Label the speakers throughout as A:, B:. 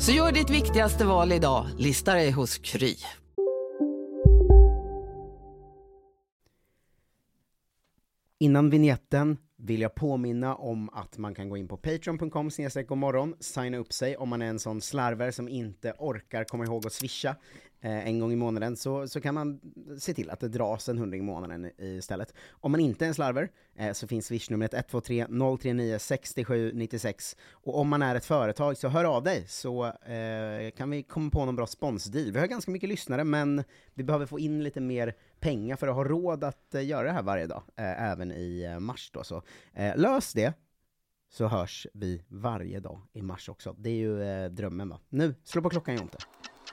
A: Så gör ditt viktigaste val idag, listar dig hos Kry.
B: Innan vignetten vill jag påminna om att man kan gå in på patreon.com snedstreck morgon, signa upp sig om man är en sån slarver som inte orkar komma ihåg att swisha eh, en gång i månaden så, så kan man se till att det dras en hundring i månaden istället. Om man inte är en slarver eh, så finns swishnumret 123 039 67 96 och om man är ett företag så hör av dig så eh, kan vi komma på någon bra sponsdeal. Vi har ganska mycket lyssnare men vi behöver få in lite mer pengar för att ha råd att eh, göra det här varje dag, eh, även i eh, mars då. Så eh, lös det, så hörs vi varje dag i mars också. Det är ju eh, drömmen va. Nu, slå på klockan Jonte.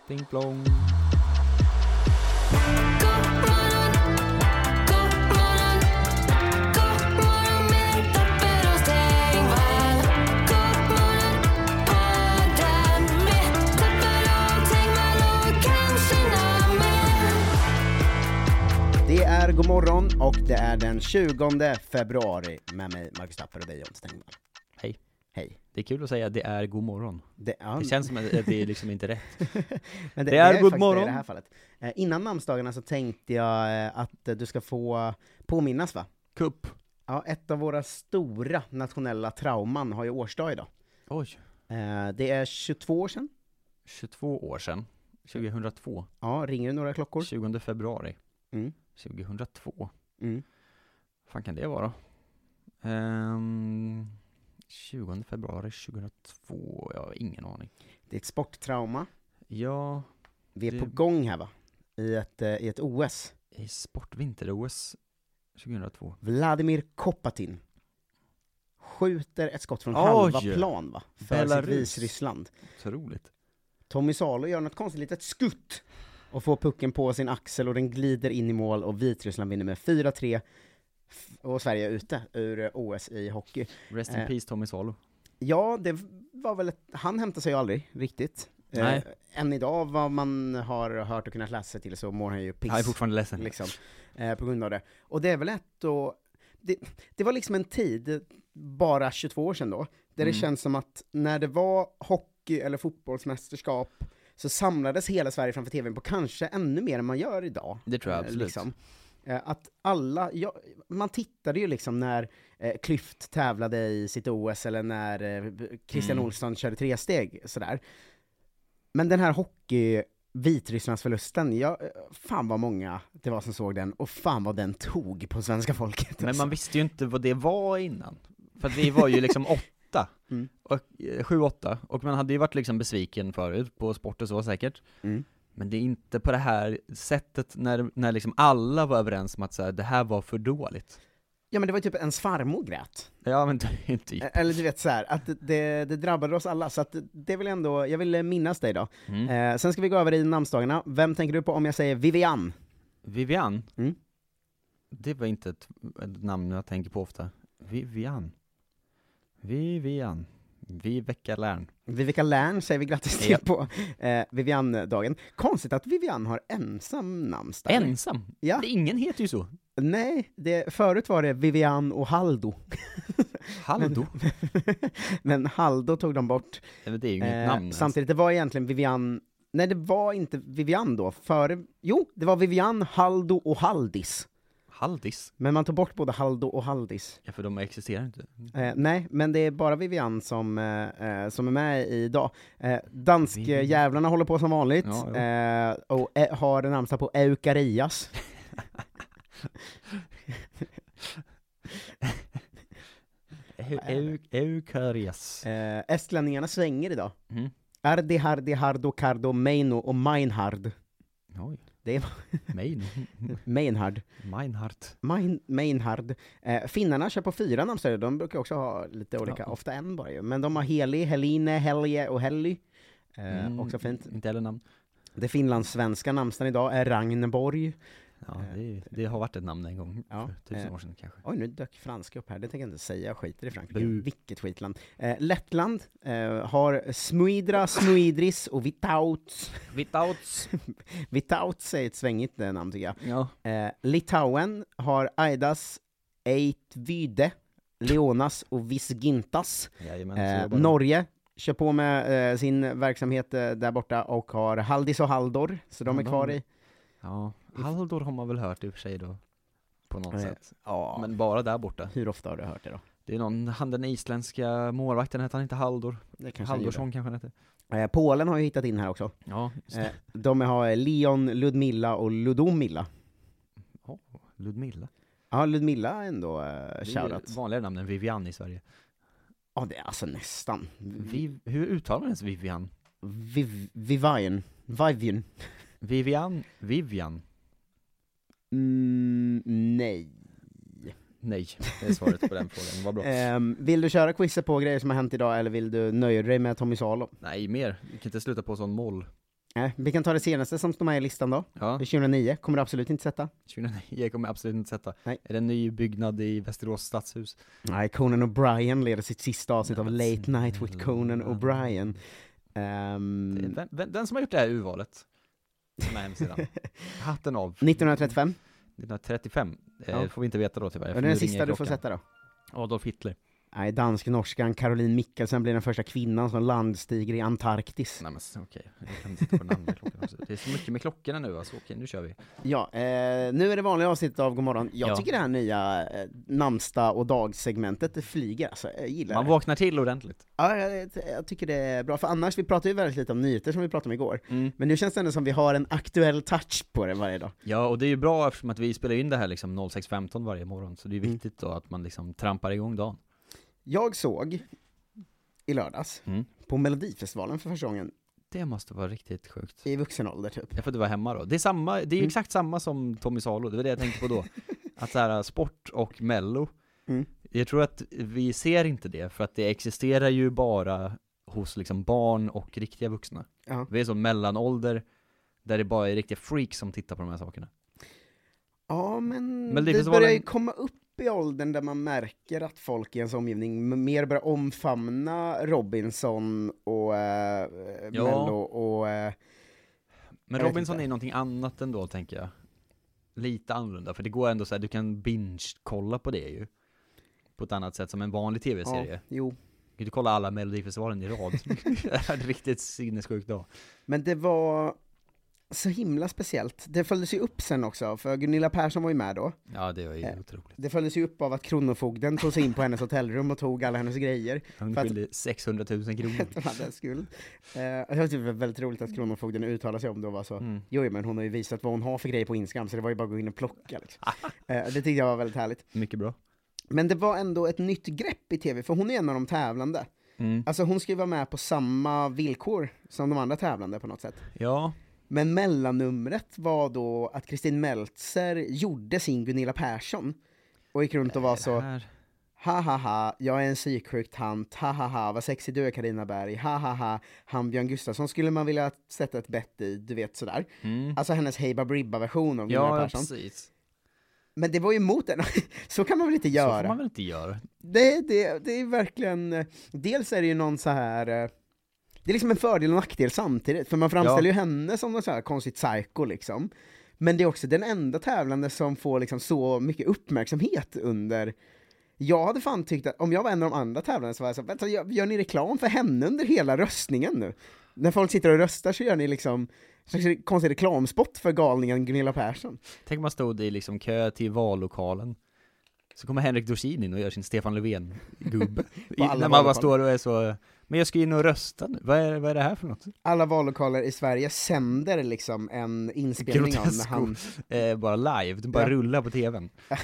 C: Ding plong.
B: Det är god morgon och det är den 20 februari med mig Marcus Tapper och dig Jonte Stenberg.
C: Hej.
B: Hej.
C: Det är kul att säga det är god morgon.
B: Det, ja,
C: Det känns som att det är liksom inte rätt.
B: Men
C: Det är
B: ju
C: god
B: faktiskt
C: morgon.
B: Det i det här fallet. Eh, innan namnsdagarna så tänkte jag eh, att eh, du ska få påminnas va?
C: Kupp.
B: Ja, ett av våra stora nationella trauman har ju årsdag idag.
C: Oj.
B: Eh, det är 22 år sedan.
C: 22 år sedan. 2002.
B: Ja, ringer det några klockor?
C: 20 februari.
B: Mm.
C: 2002.
B: Mm.
C: fan kan det vara? Ehm, 20 februari 2002. Jag har ingen aning.
B: Det är ett sporttrauma.
C: Ja,
B: Vi är
C: Det-
B: på gång här va? I ett, eh, i ett OS.
C: i sportvinter-OS 2002.
B: Vladimir Kopatin skjuter ett skott från
C: Oj!
B: halva plan va? För sitt
C: Belarus.
B: Vitryssland.
C: Otroligt.
B: Tommy Salo gör något konstigt litet skutt och får pucken på sin axel och den glider in i mål och Vitryssland vinner med 4-3 F- och Sverige är ute ur eh, OS i hockey.
C: Rest in
B: Eh.
C: peace Tommy Salo.
B: Ja, det var väl ett, han hämtar sig ju aldrig riktigt. Eh,
C: Nej.
B: än idag, vad man har hört och kunnat läsa sig till, så mår han ju piss.
C: Jag är fortfarande ledsen.
B: liksom, eh, på grund av det. Och det är väl ett och, det, det var liksom en tid, bara 22 år sedan då, där det
C: Mm.
B: känns som att när det var hockey eller fotbollsmästerskap så samlades hela Sverige framför tvn på kanske ännu mer än man gör idag.
C: Det tror jag
B: Eh,
C: absolut.
B: Eh, Att alla, ja, man tittade ju liksom när eh, Klyft tävlade i sitt OS eller när eh, Christian
C: Mm.
B: Olsson körde tresteg sådär. Men den här hockey, Vitrysslandsförlusten, ja, eh, fan vad många det var som såg den, och fan vad den tog på svenska folket.
C: Men
B: alltså.
C: man visste ju inte vad det var innan. För att vi var ju liksom åtta.
B: Mm.
C: Och, eh, sju, åtta. Och man hade ju varit liksom besviken förut på sport och så säkert.
B: Mm.
C: Men det är inte på det här sättet när, när liksom alla var överens om att så här, det här var för dåligt.
B: Ja men det var ju typ ens farmor grät.
C: Ja men det är ju typ.
B: Eh, Eller du vet såhär, att det, det drabbade oss alla, så att det vill jag ändå, jag vill eh, minnas dig då.
C: Mm.
B: Eh, sen ska vi gå över i namnsdagarna, vem tänker du på om jag säger Vivian?
C: Vivian.
B: Mm.
C: Det var inte ett, ett namn jag tänker på ofta. Vivian. Vivian. Viveka Lern.
B: Vivica Lern säger vi grattis till
C: Ja.
B: på eh, Vivian-dagen. Konstigt att Vivian har ensam namnsdag.
C: Ensam.
B: Ja.
C: Ingen heter ju så.
B: Nej, det, förut var det Vivian och Haldo.
C: Haldo.
B: Men Haldo tog de bort.
C: Men, det är ju inget
B: Eh,
C: namn. ens.
B: samtidigt, det var egentligen Vivian, nej det var inte Vivian då, före, jo, det var Vivian, Haldo och Haldis.
C: Haldis.
B: Men man tog bort både Haldo och Haldis.
C: Ja, för de existerar inte.
B: Eh, nej, men det är bara Vivian som, eh, eh, som är med idag. Eh, Danskjävlarna håller på som vanligt,
C: Ja, jo.
B: eh, och eh, har en namnsdag på Eukarias. är
C: Eukaries.
B: Eh, Estlänningarna svänger idag.
C: Mm.
B: Ardi, Hardi, Hardo, Kardo, Meino och Meinhard. Eh,
C: Oj.
B: Det är
C: Main.
B: Meinhard.
C: Meinhardt.
B: Main, Meinhard. Eh, finnarna kör på fyra namnsdagar, de brukar också ha lite olika,
C: Ja.
B: ofta en bara ju. Men de har Heli, Heline, Helje och Helly. Eh,
C: Mm,
B: Också fint.
C: Inte heller namn.
B: Det finlandssvenska namnsdagen idag är Ragnborg.
C: Ja, det, är- det har varit ett namn en gång.
B: Eh, Ja,
C: För tusen
B: eh,
C: år sedan kanske.
B: Oj, nu dök franska upp här, det tänker jag inte säga, jag skiter i Frankrike.
C: Bu.
B: Vilket skitland. Eh, Lettland eh, har Smuidra, Smuidris och Vitauts.
C: Witouts.
B: Vitauts är ett svängigt eh, namn tycker jag.
C: ja.
B: Eh, Litauen har Aidas, Eitvyde, Leonas och Visgintas.
C: Jajamän, så
B: Eh,
C: jobbar de.
B: Norge kör på med eh, sin verksamhet eh, där borta och har Haldis och Haldor, så de
C: Ja,
B: är kvar
C: de-
B: i...
C: Ja. Haldor har man väl hört i och för sig då. På något
B: Eh,
C: sätt.
B: Ja,
C: Men bara där borta.
B: hur ofta har du hört det då?
C: Det är någon, han den isländska målvakten hette han inte Haldor?
B: Det kanske han gjorde.
C: Haldorsson kanske han hette?
B: eh, Polen har ju hittat in här också.
C: Ja, just
B: Eh,
C: det.
B: de har Leon, Ludmilla och Ludomilla.
C: Ludmilla.
B: Ja, Ludmilla är ändå eh,
C: Det är
B: shoutout.
C: ju vanligare namn än Vivian i Sverige.
B: Ja, det är alltså nästan. Vi,
C: Vi, hur uttalar man ens Vivian?
B: vi, Vivian. Vivian.
C: Vivian? Vivian?
B: Mm, nej.
C: Nej, det är svaret på den frågan. Vad bra.
B: Ehm, vill du köra quizet på grejer som har hänt idag, eller vill du nöja dig med Tommy Salo?
C: Nej, mer. Vi kan inte sluta på sån moll.
B: Eh, vi kan ta det senaste som står med i listan då.
C: Ja,
B: Det är 2009, kommer du absolut inte sätta.
C: 2009 kommer jag absolut inte sätta.
B: Nej.
C: Är det en ny byggnad i Västerås stadshus?
B: Nej, Conan O'Brien leder sitt sista avsnitt av
C: Nej, men
B: Late Night with
C: snälla.
B: Conan O'Brien. Ehm,
C: Mm. Det är Vem, vem, den som har gjort det här urvalet? Den här hemsidan. Hatten av.
B: 1935,
C: 1935. Eh,
B: Ja.
C: får vi inte veta då tyvärr.
B: och
C: för
B: det är
C: nu
B: den
C: ringer
B: sista du får
C: klockan.
B: sätta då.
C: Adolf Hitler.
B: Nej, dansk-norskan Caroline Mikkelsen blir den första kvinnan som landstiger i Antarktis.
C: Nej men s- okej, jag kan inte sitta på namn med klockan också. Det är så mycket med klockorna nu alltså, okej nu kör vi.
B: Ja, eh, nu är det vanliga avsnittet av Godmorgon. Jag
C: Ja.
B: tycker det här nya eh, namnsdag och dagsegmentet, det flyger alltså. Jag gillar
C: Man
B: det.
C: vaknar till ordentligt.
B: Ja, jag, jag tycker det är bra, för annars, vi pratar ju väldigt lite om nyheter som vi pratade om igår,
C: Mm.
B: men nu känns det ändå som vi har en aktuell touch på det varje dag.
C: Ja och det är ju bra eftersom att vi spelar in det här liksom 06.15 varje morgon, så det är viktigt då att man liksom trampar igång dagen.
B: Jag såg i lördags,
C: Mm.
B: på Melodifestivalen för första gången,
C: Det måste vara riktigt sjukt.
B: i vuxen ålder typ.
C: Jag får inte vara hemma då. Det är samma, det är ju
B: Mm.
C: exakt samma som Tommy Salo, det var det jag tänkte på då. Att så här, sport och mello,
B: Mm.
C: jag tror att vi ser inte det för att det existerar ju bara hos liksom barn och riktiga vuxna.
B: Ja.
C: Vi är som mellanålder, där det bara är riktiga freaks som tittar på de här sakerna.
B: Ja, men, det
C: Melodifestivalen-
B: börjar ju komma upp i åldern där man märker att folk i ens omgivning m- mer börjar omfamna Robinson och eh,
C: Ja.
B: Mello och... Eh,
C: Men
B: Jag vet
C: Robinson
B: inte.
C: är någonting annat ändå, tänker jag. Lite annorlunda, för det går ändå så här, du kan binge-kolla på det ju. På ett annat sätt, som en vanlig
B: ja,
C: tv-serie.
B: jo.
C: Du kan ju kolla alla Melodifestivalen i rad. det är en riktigt sinnessjuk dag.
B: Men det var så himla speciellt. Det följdes ju upp sen också, för Gunilla Persson var ju med då.
C: Ja, det var ju
B: Eh,
C: otroligt.
B: Det följdes ju upp av att Kronofogden tog sig in på hennes hotellrum och tog alla hennes grejer.
C: Han
B: för att-
C: skyldig 600 000
B: De
C: kronor.
B: hade en skuld. Eh, jag tyckte det var väldigt roligt att Kronofogden uttalade sig om det och var så,
C: Mm.
B: jo men hon har ju visat vad hon har för grejer på Instagram så det var ju bara att gå in och plocka. Liksom.
C: Ah.
B: Eh, det tyckte jag var väldigt härligt.
C: Mycket bra.
B: Men det var ändå ett nytt grepp i tv, för hon är en av de tävlande.
C: Mm.
B: Alltså hon ska ju vara med på samma villkor som de andra tävlande på något sätt.
C: Ja,
B: Men mellannumret var då att Kristin Meltzer gjorde sin Gunilla Persson och gick runt och var så,
C: det här.
B: Ha ha ha, jag är en psyksjuk tant, ha ha ha, vad sexig du är Carina Berg, ha ha ha, han Björn Gustafsson skulle man vilja sätta ett bett i, du vet sådär.
C: Mm.
B: Alltså hennes Hey Baberiba version av Gunilla
C: Ja, ja,
B: Persson.
C: precis.
B: Men det var ju emot den, så kan man väl inte
C: Så får
B: göra?
C: man väl inte göra?
B: Det, det, det är verkligen, eh, dels är det ju någon så här eh, det är liksom en fördel och nackdel samtidigt, för man framställer ju henne som någon så här konstigt psycho liksom. Men det är också den enda tävlande som får liksom så mycket uppmärksamhet under jag hade fan tyckt att om jag var en av de andra tävlande så var jag så här, vänta, gör, gör ni reklam för henne under hela röstningen nu? När folk sitter och röstar så gör ni liksom en slags konstig reklamspot för galningen Gunilla Persson.
C: Tänk om man stod i liksom kö till vallokalen Så kommer Henrik Dorsin in och gör sin Stefan Löfven-gubbe. I-
B: alla
C: När man bara
B: vallokaler.
C: står och är så, men jag ska in och rösta nu, vad är, vad är det här för något?
B: Alla vallokaler i Sverige sänder liksom en inspelning av när
C: Grotesko.
B: han...
C: Eh, bara live, den bara
B: Ja.
C: rullar på tvn. Men,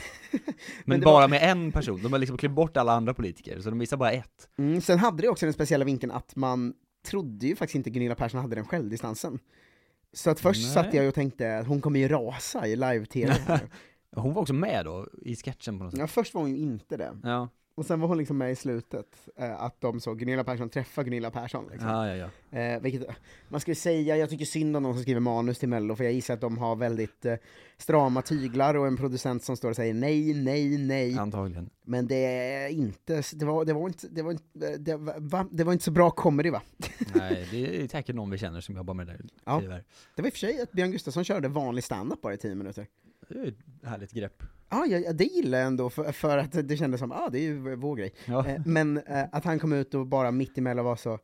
B: Men det
C: bara med en person, de har liksom klippt bort alla andra politiker, så de visar bara ett.
B: Mm, sen hade det också den speciella vinkeln att man trodde ju faktiskt inte Gunilla Persson hade den självdistansen. Så att först
C: Nej.
B: satt jag ju och tänkte att hon kommer ju rasa i live-tv. här.
C: Hon var också med då, i sketchen på något sätt.
B: ja, först var hon ju inte det.
C: Ja,
B: Och sen var hon liksom med i slutet, eh, att de såg Gunilla Persson träffa Gunilla Persson. Liksom.
C: ja, ja. ja.
B: Eh, vilket, man ska ju säga, jag tycker synd om de som skriver manus till Mello, för jag gissar att de har väldigt eh, strama tyglar och en producent som står och säger nej, nej, nej.
C: Antagligen.
B: Men det är inte, det var, det var inte, det var inte, eh, det var, va? det var inte så bra comedy va?
C: Nej, det är säkert någon vi känner som jobbar med det där,
B: Ja.
C: tyvärr.
B: Det var i och för sig att Björn Gustafsson körde vanlig standup bara i 10 minuter.
C: Det är ju ett härligt grepp.
B: Ah, ja, ja, det gillar jag ändå, för, för att det kändes som, ja ah, det är ju vår grej.
C: Ja.
B: Eh, Men eh, att han kom ut och bara mitt emellan var så,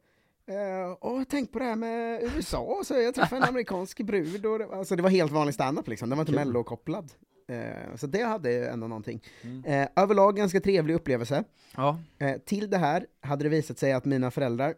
B: eh, åh tänk på det här med USA, så jag träffade en amerikansk brud och det, alltså, det var helt vanlig standup liksom, den var inte
C: Kul.
B: mellokopplad. Eh, så det hade ju ändå någonting.
C: Mm.
B: Eh, överlag ganska trevlig upplevelse.
C: Ja.
B: Eh, till det här hade det visat sig att mina föräldrar,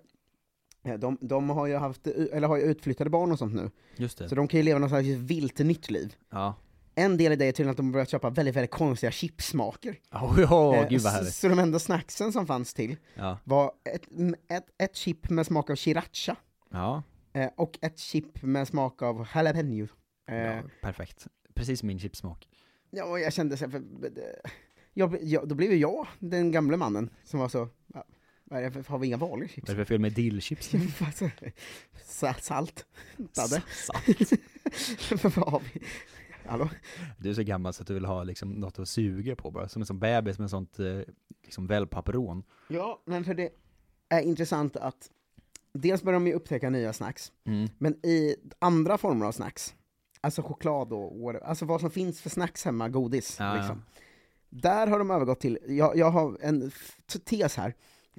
B: eh, de, de har ju haft, eller har ju utflyttade barn och sånt nu,
C: Just det.
B: så de kan ju leva något slags vilt nytt liv.
C: Ja.
B: En del i det är tydligen att de har börjat köpa väldigt, väldigt konstiga chipsmaker.
C: Åh, ja,
B: Eh,
C: gud vad
B: så,
C: härligt.
B: så de enda snacksen som fanns till
C: Ja.
B: var ett, m- ett, ett chip med smak av sriracha
C: Ja.
B: eh, och ett chip med smak av jalapeno. Eh,
C: ja,
B: ja.
C: perfekt. Precis min chipsmak.
B: och jag kände så här, för, eh, jag, bl- jag, då blev ju jag den gamle mannen som var så, "Va, vad är det, för- har vi inga vanliga chips?
C: Vad är det för fel med dillchips?
B: Alltså, sa- Salt. Dadde.
C: Salt.
B: vad har vi? Hallå?
C: Du är så gammal så att du vill ha liksom något att suga på bara, som en sån bebis med sånt eh, liksom wellpappron.
B: Ja, men för det är intressant att dels börjar de ju upptäcka nya snacks,
C: Mm.
B: men i andra former av snacks, alltså choklad och whatever, alltså vad som finns för snacks hemma, godis
C: Ja, ja.
B: liksom. Där har de övergått till, jag, jag har en f- tes här,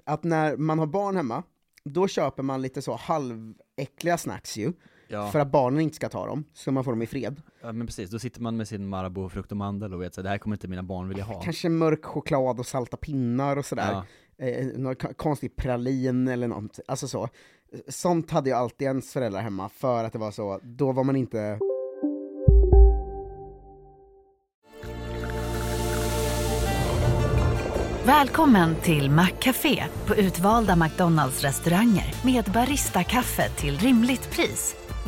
B: att när man har barn hemma, då köper man lite så halväckliga snacks ju,
C: Ja.
B: för att barnen inte ska ta dem, så man får dem i fred.
C: ja, men precis. Då sitter man med sin Marabou frukt och mandel och vet så här, det här kommer inte mina barn vilja ha.
B: Kanske mörk choklad och salta pinnar och sådär.
C: Ja.
B: eh, någon ka- konstig pralin eller något, alltså så. Sånt hade ju alltid ens föräldrar hemma för att det var så, då var man inte...
D: Välkommen till Maccafé på utvalda McDonalds restauranger med Baristakaffe till rimligt pris.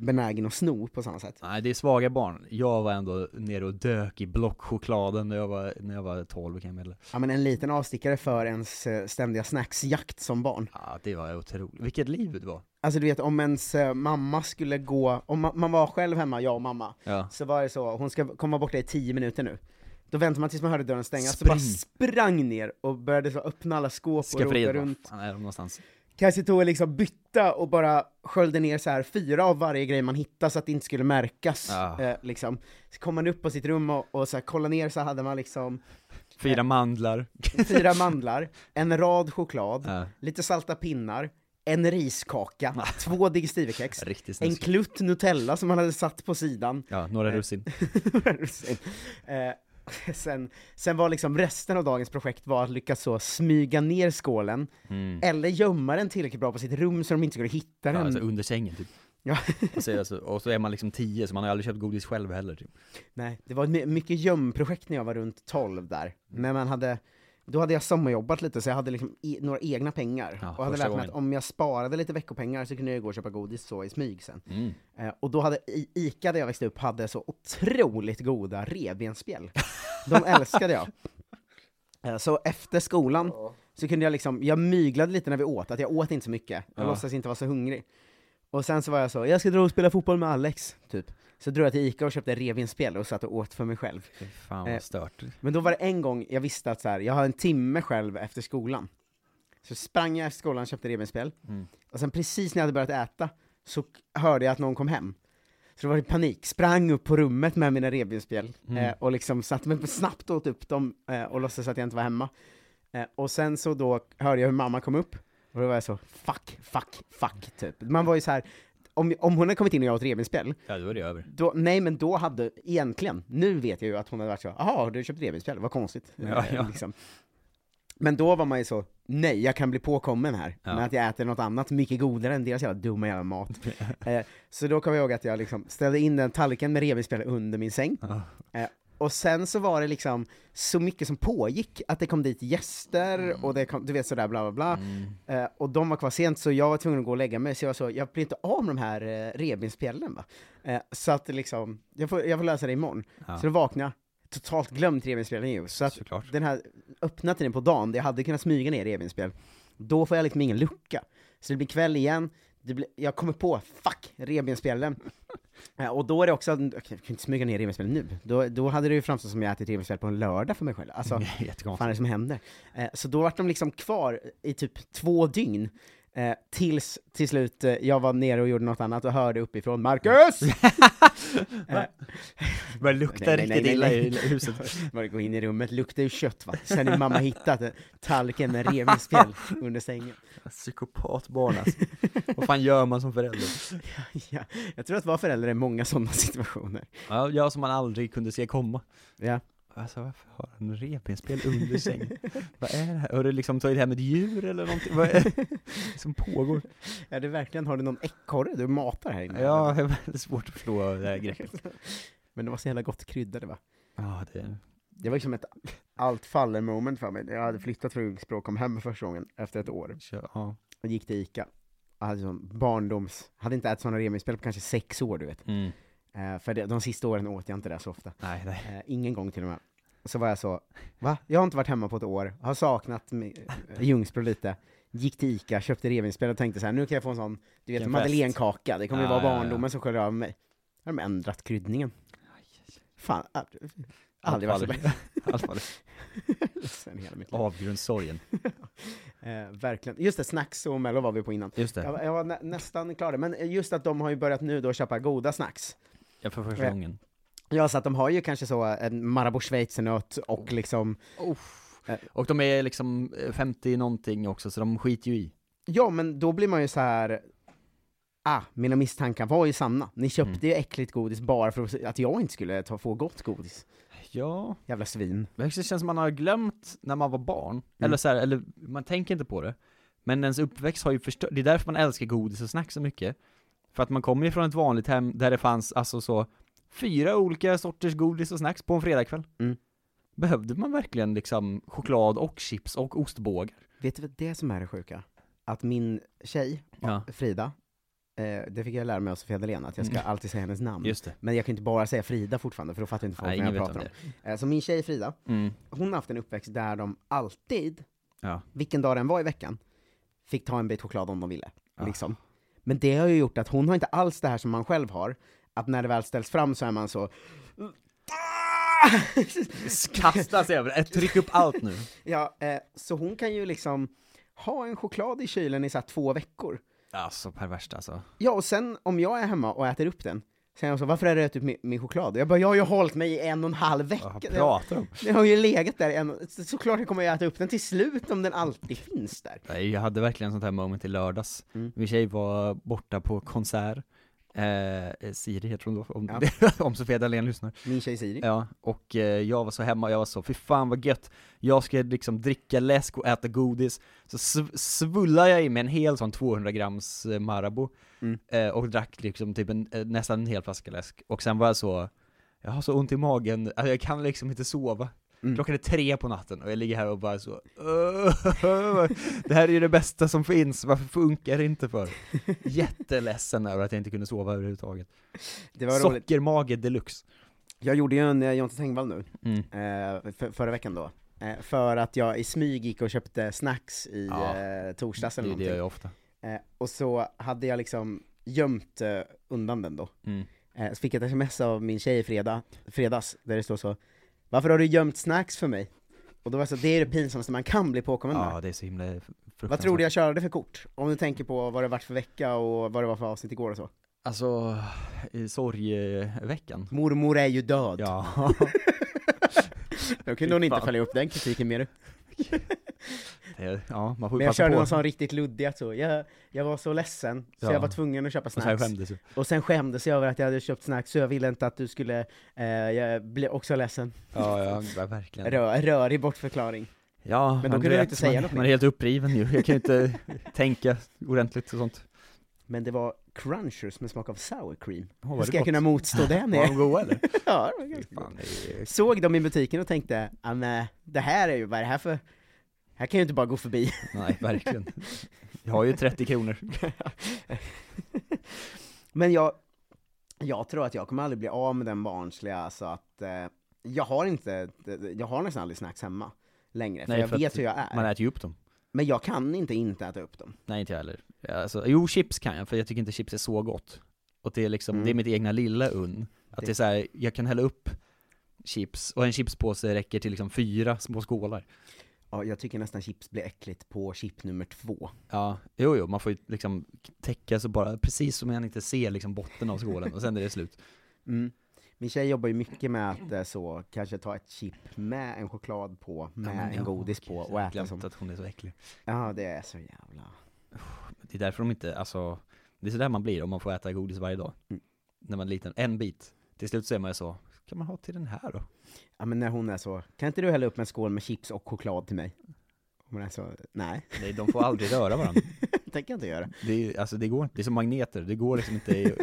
B: benägen att sno på samma sätt.
C: Nej, det är svaga barn. Jag var ändå nere och dök i blockchokladen när jag var, när jag var 12 kan jag meddela.
B: Ja men en liten avstickare för ens eh, ständiga snacksjakt som barn.
C: Ja, det var otroligt. Vilket liv det var.
B: Alltså du vet om ens eh, mamma skulle gå, om ma- man var själv hemma, jag och mamma,
C: Ja.
B: så var det så, hon ska komma borta i tio minuter nu. Då väntade man tills man hörde dörren stängas, så
C: Spring.
B: bara sprang ner och började så öppna alla skåp och
C: Skafferiet
B: rota
C: bara,
B: runt. Eh.
C: fan är de någonstans?
B: Kanske tog liksom bytta och bara sköljde ner så här fyra av varje grej man hittade så att det inte skulle märkas.
C: Ah.
B: Eh, liksom. Så kom man upp på sitt rum och, och så här, kollade ner så hade man liksom
C: Fyra mandlar.
B: fyra mandlar, en rad choklad,
C: Ja.
B: lite salta pinnar, en riskaka, två digestivekex,
C: Ah. Riktigt
B: en
C: snuskigt.
B: klutt Nutella som man hade satt på sidan.
C: Ja, några russin.
B: sen, eh, sen, sen var liksom resten av dagens projekt var att lyckas så smyga ner skålen, eller gömma den tillräckligt bra på sitt rum så de inte skulle hitta
C: Mm. Ja,
B: den.
C: alltså under sängen typ.
B: Ja.
C: Och så, är jag så- och så är man liksom tio, så man har aldrig köpt godis själv heller typ.
B: Nej, det var ett my- mycket gömprojekt när jag var runt 12 där,
C: Mm.
B: men man hade då hade jag sommarjobbat lite så jag hade liksom e några egna pengar.
C: Ja,
B: och hade
C: första
B: lärt mig att
C: gången.
B: om jag sparade lite veckopengar så kunde jag gå och köpa godis så i smyg sen.
C: Mm.
B: Eh, och då hade I- Ica där jag växte upp hade så otroligt goda revbensspjäll. De älskade jag. Eh, så efter skolan så kunde jag liksom, jag myglade lite när vi åt, att jag åt inte så mycket, jag
C: Ja.
B: låtsas inte vara så hungrig. Och sen så var jag så, jag ska dra och spela fotboll med Alex, typ. Så drog jag till Ica och köpte revinspel och satt och åt för mig själv.
C: Fy fan
B: Eh,
C: vad stört.
B: Men då var det en gång jag visste att så här, jag har en timme själv efter skolan. Så sprang jag efter skolan och köpte revbensspjäll.
C: Mm.
B: Och sen precis när jag hade börjat äta så k- hörde jag att någon kom hem. Så då var det panik, sprang upp på rummet med mina revbensspjäll eh, och liksom satte mig på snabbt åt upp dem eh, och låtsades att jag inte var hemma. Eh, och sen så då hörde jag hur mamma kom upp och då var jag så fuck, fuck, fuck typ. Man var ju så här, om, om hon hade kommit in och jag åt revbensspjäll,
C: Ja, då är det över.
B: då, nej men då hade, egentligen, nu vet jag ju att hon hade varit så, jaha, har du köpt revbensspjäll? Vad konstigt.
C: Ja,
B: Eh,
C: ja.
B: Liksom. Men då var man ju så, nej jag kan bli påkommen här,
C: Ja.
B: med att jag äter något annat mycket godare än deras jävla dumma jävla mat. eh, så då kom jag ihåg att jag liksom ställde in den tallriken med revbensspjäll under min säng.
C: Ja.
B: Eh, och sen så var det liksom så mycket som pågick, att det kom dit gäster
C: Mm.
B: och det kom, du vet sådär bla bla bla. Eh, och de var kvar sent så jag var tvungen att gå och lägga mig, så jag sa jag blir inte av med de här eh, revbensspjällen va. Eh, så att det liksom, jag får, jag får lösa det imorgon.
C: Ja.
B: Så då vaknade jag, totalt glömt revbensspjällen ju. Så att
C: Såklart.
B: den här öppna tiden på dagen, där jag hade kunnat smyga ner revbensspjäll, då får jag liksom ingen lucka. Så det blir kväll igen, det blir, jag kommer på, fuck, revbensspjällen. Eh, och då är det också, okej, jag kan inte smyga ner revbensspjällen nu. Då, då hade det ju framstått som jag ätit revbensspjäll på en lördag för mig själv. Alltså,
C: Mm.
B: vad fan är
C: Jättekonstigt.
B: det som händer? Eh, så då var de liksom kvar i typ två dygn. Eh, tills till slut eh, jag var nere och gjorde något annat och hörde uppifrån Marcus!
C: Börjar lukta
B: Nej, nej, nej,
C: riktigt
B: nej, nej.
C: illa i huset.
B: Bara gå in i rummet, luktar ju kött va. Sen har mamma hittat en tallriken med revbensspjäll under sängen.
C: Psykopatbarn alltså. Vad fan gör man som förälder?
B: Ja, jag tror att vara förälder är många sådana situationer.
C: Ja, jag som man aldrig kunde se komma.
B: Ja.
C: Alltså varför har han en revbensspjäl under sängen? Vad är det här? Har du liksom tagit hem ett djur eller någonting? Vad är det som pågår?
B: Är det verkligen, har du någon ekorre du matar här inne?
C: Ja, det är väldigt svårt att förstå det här greppet.
B: Men det var så jävla gott kryddade va?
C: Ja, det är...
B: Det var liksom ett allt faller moment för mig. Jag hade flyttat från Ljungsbro och kom hem första gången efter ett år.
C: Ja.
B: och gick till Ica. Jag hade sån barndoms, hade inte ätit sådana revbensspjäll på kanske sex år du vet.
C: Mm.
B: Eh, för det, de sista åren åt jag inte det så ofta.
C: Nej, nej.
B: Eh, ingen gång till och med. Så var jag så, va? Jag har inte varit hemma på ett år, har saknat mi- eh, Ljungsbro lite. Gick till Ica, köpte revbensspjäll och tänkte så här: nu kan jag få en sån, du vet
C: Vilken
B: madeleinekaka, det kommer ju
C: Ja,
B: vara
C: ja, ja.
B: barndomen som sköljer över mig. Har de ändrat kryddningen? Fan, äh, a- aldrig varit så lätt.
C: Allt faller. Allt faller.
B: Sen hela mitt liv.
C: Avgrundssorgen.
B: Eh, verkligen. Just det, snacks och mello var vi på innan.
C: Just det.
B: Jag, var- jag var nä, nästan klar där, men eh, just att de har ju börjat nu då köpa goda snacks.
C: Ja, för första
B: Eh,
C: gången.
B: Ja, så att de har ju kanske så en Marabou schweizernöt och liksom,
C: Och de är liksom eh, 50 någonting också, så de skiter ju i.
B: ja men då blir man ju så här. Ah, mina misstankar var ju sanna. Ni köpte
C: Mm.
B: ju äckligt godis bara för att jag inte skulle ta, få gott godis.
C: Ja.
B: Jävla svin.
C: Det känns som man har glömt när man var barn, eller så här, eller man tänker inte på det. Men ens uppväxt har ju förstört, det är därför man älskar godis och snack så mycket. För att man kommer ju från ett vanligt hem där det fanns alltså så, fyra olika sorters godis och snacks på en fredagkväll.
B: Mm.
C: Behövde man verkligen liksom choklad och chips och ostbågar?
B: Vet du vad det som är det sjuka? Att min tjej,
C: Ja.
B: Frida, eh, det fick jag lära mig av Sofia Dalén, att jag ska alltid säga hennes namn.
C: Mm. Just det.
B: Men jag kan inte bara säga Frida fortfarande, för då fattar inte folk
C: Nej,
B: vad
C: ingen
B: jag
C: vet om
B: pratar om.
C: det.
B: Eh, Så min tjej Frida,
C: Mm.
B: hon har haft en uppväxt där de alltid,
C: Ja.
B: vilken dag den var i veckan, fick ta en bit choklad om de ville.
C: Ja.
B: Liksom. Men det har ju gjort att hon har inte alls det här som man själv har, att när det väl ställs fram så är man så
C: Kasta sig över det, tryck upp allt nu.
B: Ja, eh, så hon kan ju liksom ha en choklad i kylen i så här två veckor.
C: Alltså perverst alltså.
B: Ja, och sen om jag är hemma och äter upp den, säger hon så varför har du ätit upp min, min choklad? Jag bara, jag har ju hållit mig i en och en halv vecka.
C: Vad pratar de?
B: Den har ju legat där i en, så- såklart jag kommer jag äta upp den till slut om den alltid finns där.
C: Nej, jag hade verkligen sånt här moment i lördags. Min tjej var borta på konsert, eh, Siri heter hon då, om, om Sofia Dalén lyssnar.
B: Min tjej Siri.
C: Ja, och eh, jag var så hemma, jag var så, fy fan vad gött, jag ska liksom dricka läsk och äta godis, så sv- svullar jag i mig en hel sån 200 grams eh, Marabou,
B: Mm.
C: eh, och drack liksom typ en, eh, nästan en hel flaska läsk, och sen var jag så, jag har så ont i magen, alltså, jag kan liksom inte sova.
B: Mm.
C: Klockan är tre på natten och jag ligger här och bara så "Åh, Det här är ju det bästa som finns, varför funkar det inte för? Jätteledsen över att jag inte kunde sova överhuvudtaget.
B: Det var roligt.
C: Sockermage deluxe.
B: Jag gjorde ju en eh, Jonte Tengvall nu,
C: Mm.
B: eh, för, förra veckan då, Eh, För att jag i smyg gick och köpte snacks i
C: Ja.
B: eh, torsdags
C: Det
B: eller
C: är det
B: någonting.
C: jag gör ofta.
B: Eh, och så hade jag liksom gömt eh, undan den då.
C: Mm.
B: Eh, så fick jag ett sms av min tjej i fredag, fredags, där det står så Varför har du gömt snacks för mig? Och då var jag så, det är det pinsammaste man kan bli påkommen med.
C: Ja, det är så himla fruktansvärt.
B: Vad tror du jag körde för kort? Om du tänker på vad det varit för vecka och vad det var för avsnitt igår och så.
C: Alltså, i sorgeveckan.
B: Mormor är ju död.
C: Ja.
B: Då kunde hon inte
C: Fan.
B: följa upp den kritiken mer.
C: Det- ja, man får ju
B: Men jag
C: passa
B: körde
C: på.
B: någon sån riktigt luddig att så, jag, jag var så ledsen, så
C: Ja.
B: jag var tvungen att köpa
C: Och sen
B: snacks.
C: skämdes jag.
B: Och sen skämdes jag över att jag hade köpt snacks, så jag ville inte att du skulle, eh, jag blev också ledsen.
C: Ja, ja, ja, verkligen.
B: Rör, rörig bortförklaring.
C: Ja,
B: då
C: man
B: kunde du
C: vet,
B: inte säga
C: man,
B: något
C: Man
B: mer.
C: är helt uppriven ju, jag kan ju inte tänka ordentligt och sånt.
B: Men det var crunchers med smak av sour cream.
C: Åh, vad
B: Hur
C: det
B: ska jag
C: gott.
B: kunna motstå det
C: Var de
B: med?
C: goda eller?
B: ja, det var ganska gott.
C: Fan, det är-
B: Såg dem i butiken och tänkte, "Ah, nej, det här är ju, vad är det här för, här kan jag ju inte bara gå förbi.
C: nej, verkligen. Jag har ju 30 kronor.
B: Men jag, jag tror att jag kommer aldrig bli av med den barnsliga, så att eh, jag har inte, jag har nästan aldrig snacks hemma längre, för
C: Nej,
B: jag
C: för att
B: vet hur jag är.
C: Man äter ju upp dem.
B: Men jag kan inte inte äta upp dem.
C: Nej, inte jag heller. Alltså, jo, chips kan jag, för jag tycker inte chips är så gott. Och det är liksom,
B: Mm.
C: det är mitt egna lilla unn. Att det,
B: Det-
C: är så här, jag kan hälla upp chips, och en chipspåse räcker till liksom fyra små skålar.
B: Ja, jag tycker nästan chips blir äckligt på chip nummer två.
C: Ja, jo, jo, man får ju liksom täcka så bara, precis som man inte ser liksom botten av skålen, och sen är det slut.
B: Mm. Min tjej jobbar ju mycket med att eh, så, kanske ta ett chip med en choklad på, med
C: men
B: en
C: jag
B: godis
C: har
B: på och
C: glömt
B: äta som.
C: att hon är så äcklig.
B: Ja, det är så jävla...
C: Det är därför de inte, alltså, det är sådär man blir om man får äta godis varje dag.
B: Mm.
C: När man är liten, en bit. Till slut så är man ju så, kan man ha till den här då?
B: Ja men när hon är så, kan inte du hälla upp en skål med chips och choklad till mig? Hon är så, nej,
C: Nej, de får aldrig röra varandra.
B: det tänker jag inte göra.
C: Det är, ju- alltså det går inte, det är som magneter, det går liksom inte, i-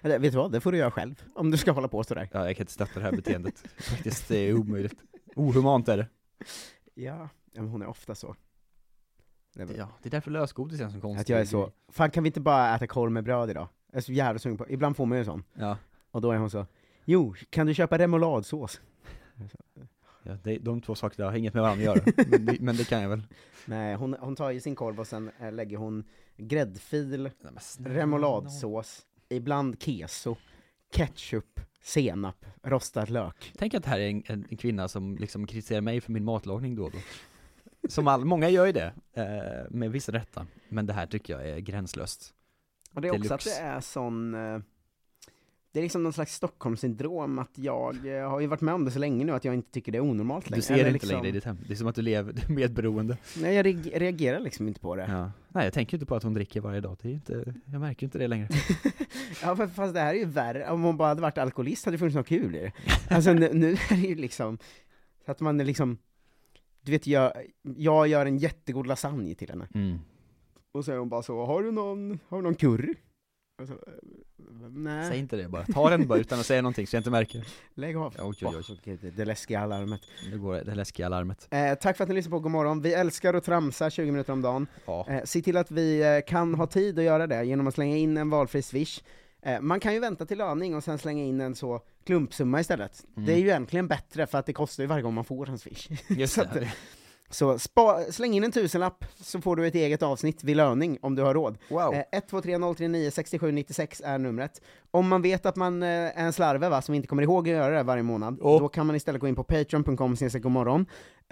B: Eller vet du vad, det får du göra själv, om du ska hålla på sådär.
C: ja, jag kan inte stötta det här beteendet. Faktiskt, det är omöjligt. Ohumant är det.
B: Ja, ja, men hon är ofta så. Det är väl-
C: Ja, det är därför lösgodis är en sån konstig
B: Att jag är så, fan kan vi inte bara äta korv med bröd idag? Jag är så jävla sugen på, ibland får man ju en sån.
C: Ja,
B: Och då är hon så, jo, kan du köpa remouladsås?
C: ja det, de två sakerna har inget med varandra att göra. Men det, men det kan jag väl.
B: Nej, hon, hon tar ju sin korv och sen eh, lägger hon gräddfil,
C: Nej, men snälla nån.
B: remouladsås, ibland keso, ketchup, senap, rostad lök.
C: Tänk att det här är en, en, en kvinna som liksom kritiserar mig för min matlagning då och då. Som all, många gör ju det, eh, med viss rätta. Men det här tycker jag är gränslöst.
B: Och det är också att
C: Deluxe.
B: det är sån, eh, det är liksom någon slags Stockholmssyndrom att jag, jag har ju varit med om det så länge nu att jag inte tycker det är onormalt längre.
C: Du ser
B: Eller
C: det inte
B: liksom,
C: längre i ditt hem. Det är som att du lever med ett beroende.
B: Nej, jag reg- reagerar liksom inte på det.
C: Ja. Nej, jag tänker ju inte på att hon dricker varje dag. Det är ju inte, jag märker ju inte det längre.
B: Ja, fa- fast det här är ju värre. Om hon bara hade varit alkoholist hade det funnits något kul i det. Alltså nu, nu är det ju liksom, så att man är liksom, du vet jag, jag gör en jättegod lasagne till henne.
C: Mm.
B: Och så är hon bara så, har du någon, har du någon curry? Och så, "Eh, nej,
C: Säg inte det bara. Ta den bara utan att säga någonting så jag inte märker.
B: lägg av.
C: Oj, oj, oj.
B: Åh, gud, det- det läskiga alarmet.
C: Nu går det, det läskiga alarmet.
B: Eh, tack för att ni lyssnar på God morgon. Vi älskar att tramsa 20 minuter om dagen.
C: Ja.
B: Eh, se till att vi eh, kan ha tid att göra det genom att slänga in en valfri swish. Eh, man kan ju vänta till löning och sen slänga in en så klumpsumma istället. Det är ju egentligen bättre för att det kostar ju varje gång man får en swish.
C: Just
B: så att-
C: det.
B: Så spa, släng in en tusenlapp så får du ett eget avsnitt vid löning om du har råd.
C: Wow.
B: Eh, 123039 6796 är numret. Om man vet att man eh, är en slarve va, som inte kommer ihåg att göra det varje månad,
C: Oh.
B: då kan man istället gå in på patreon.com snedstreck godmorgon.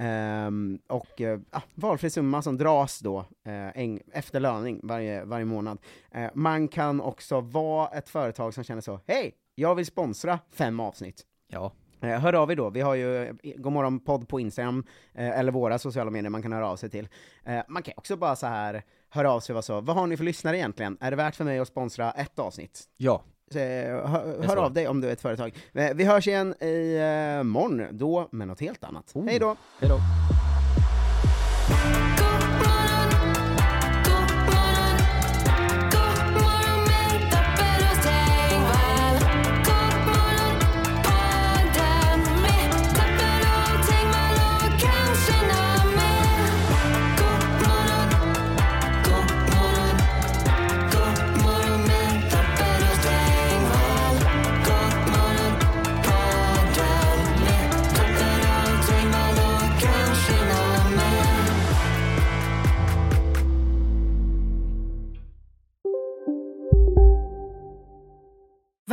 B: Ehm, och eh, ah, valfri summa som dras då eh, en, efter löning varje, varje månad. Eh, man kan också vara ett företag som känner så, hej, jag vill sponsra fem avsnitt.
C: Ja.
B: Eh, Hör av er då, vi har ju eh, Godmorgon podd på Instagram, eh, eller våra sociala medier man kan höra av sig till. Eh, Man kan också bara så här höra av sig och vara så, vad har ni för lyssnare egentligen? Är det värt för mig att sponsra ett avsnitt?
C: Ja.
B: Så, eh, hör
C: så.
B: hör av dig om du är ett företag. Eh, Vi hörs igen i eh, morgon, då med något helt annat. Hej då!
C: Hej då.
E: Yeah.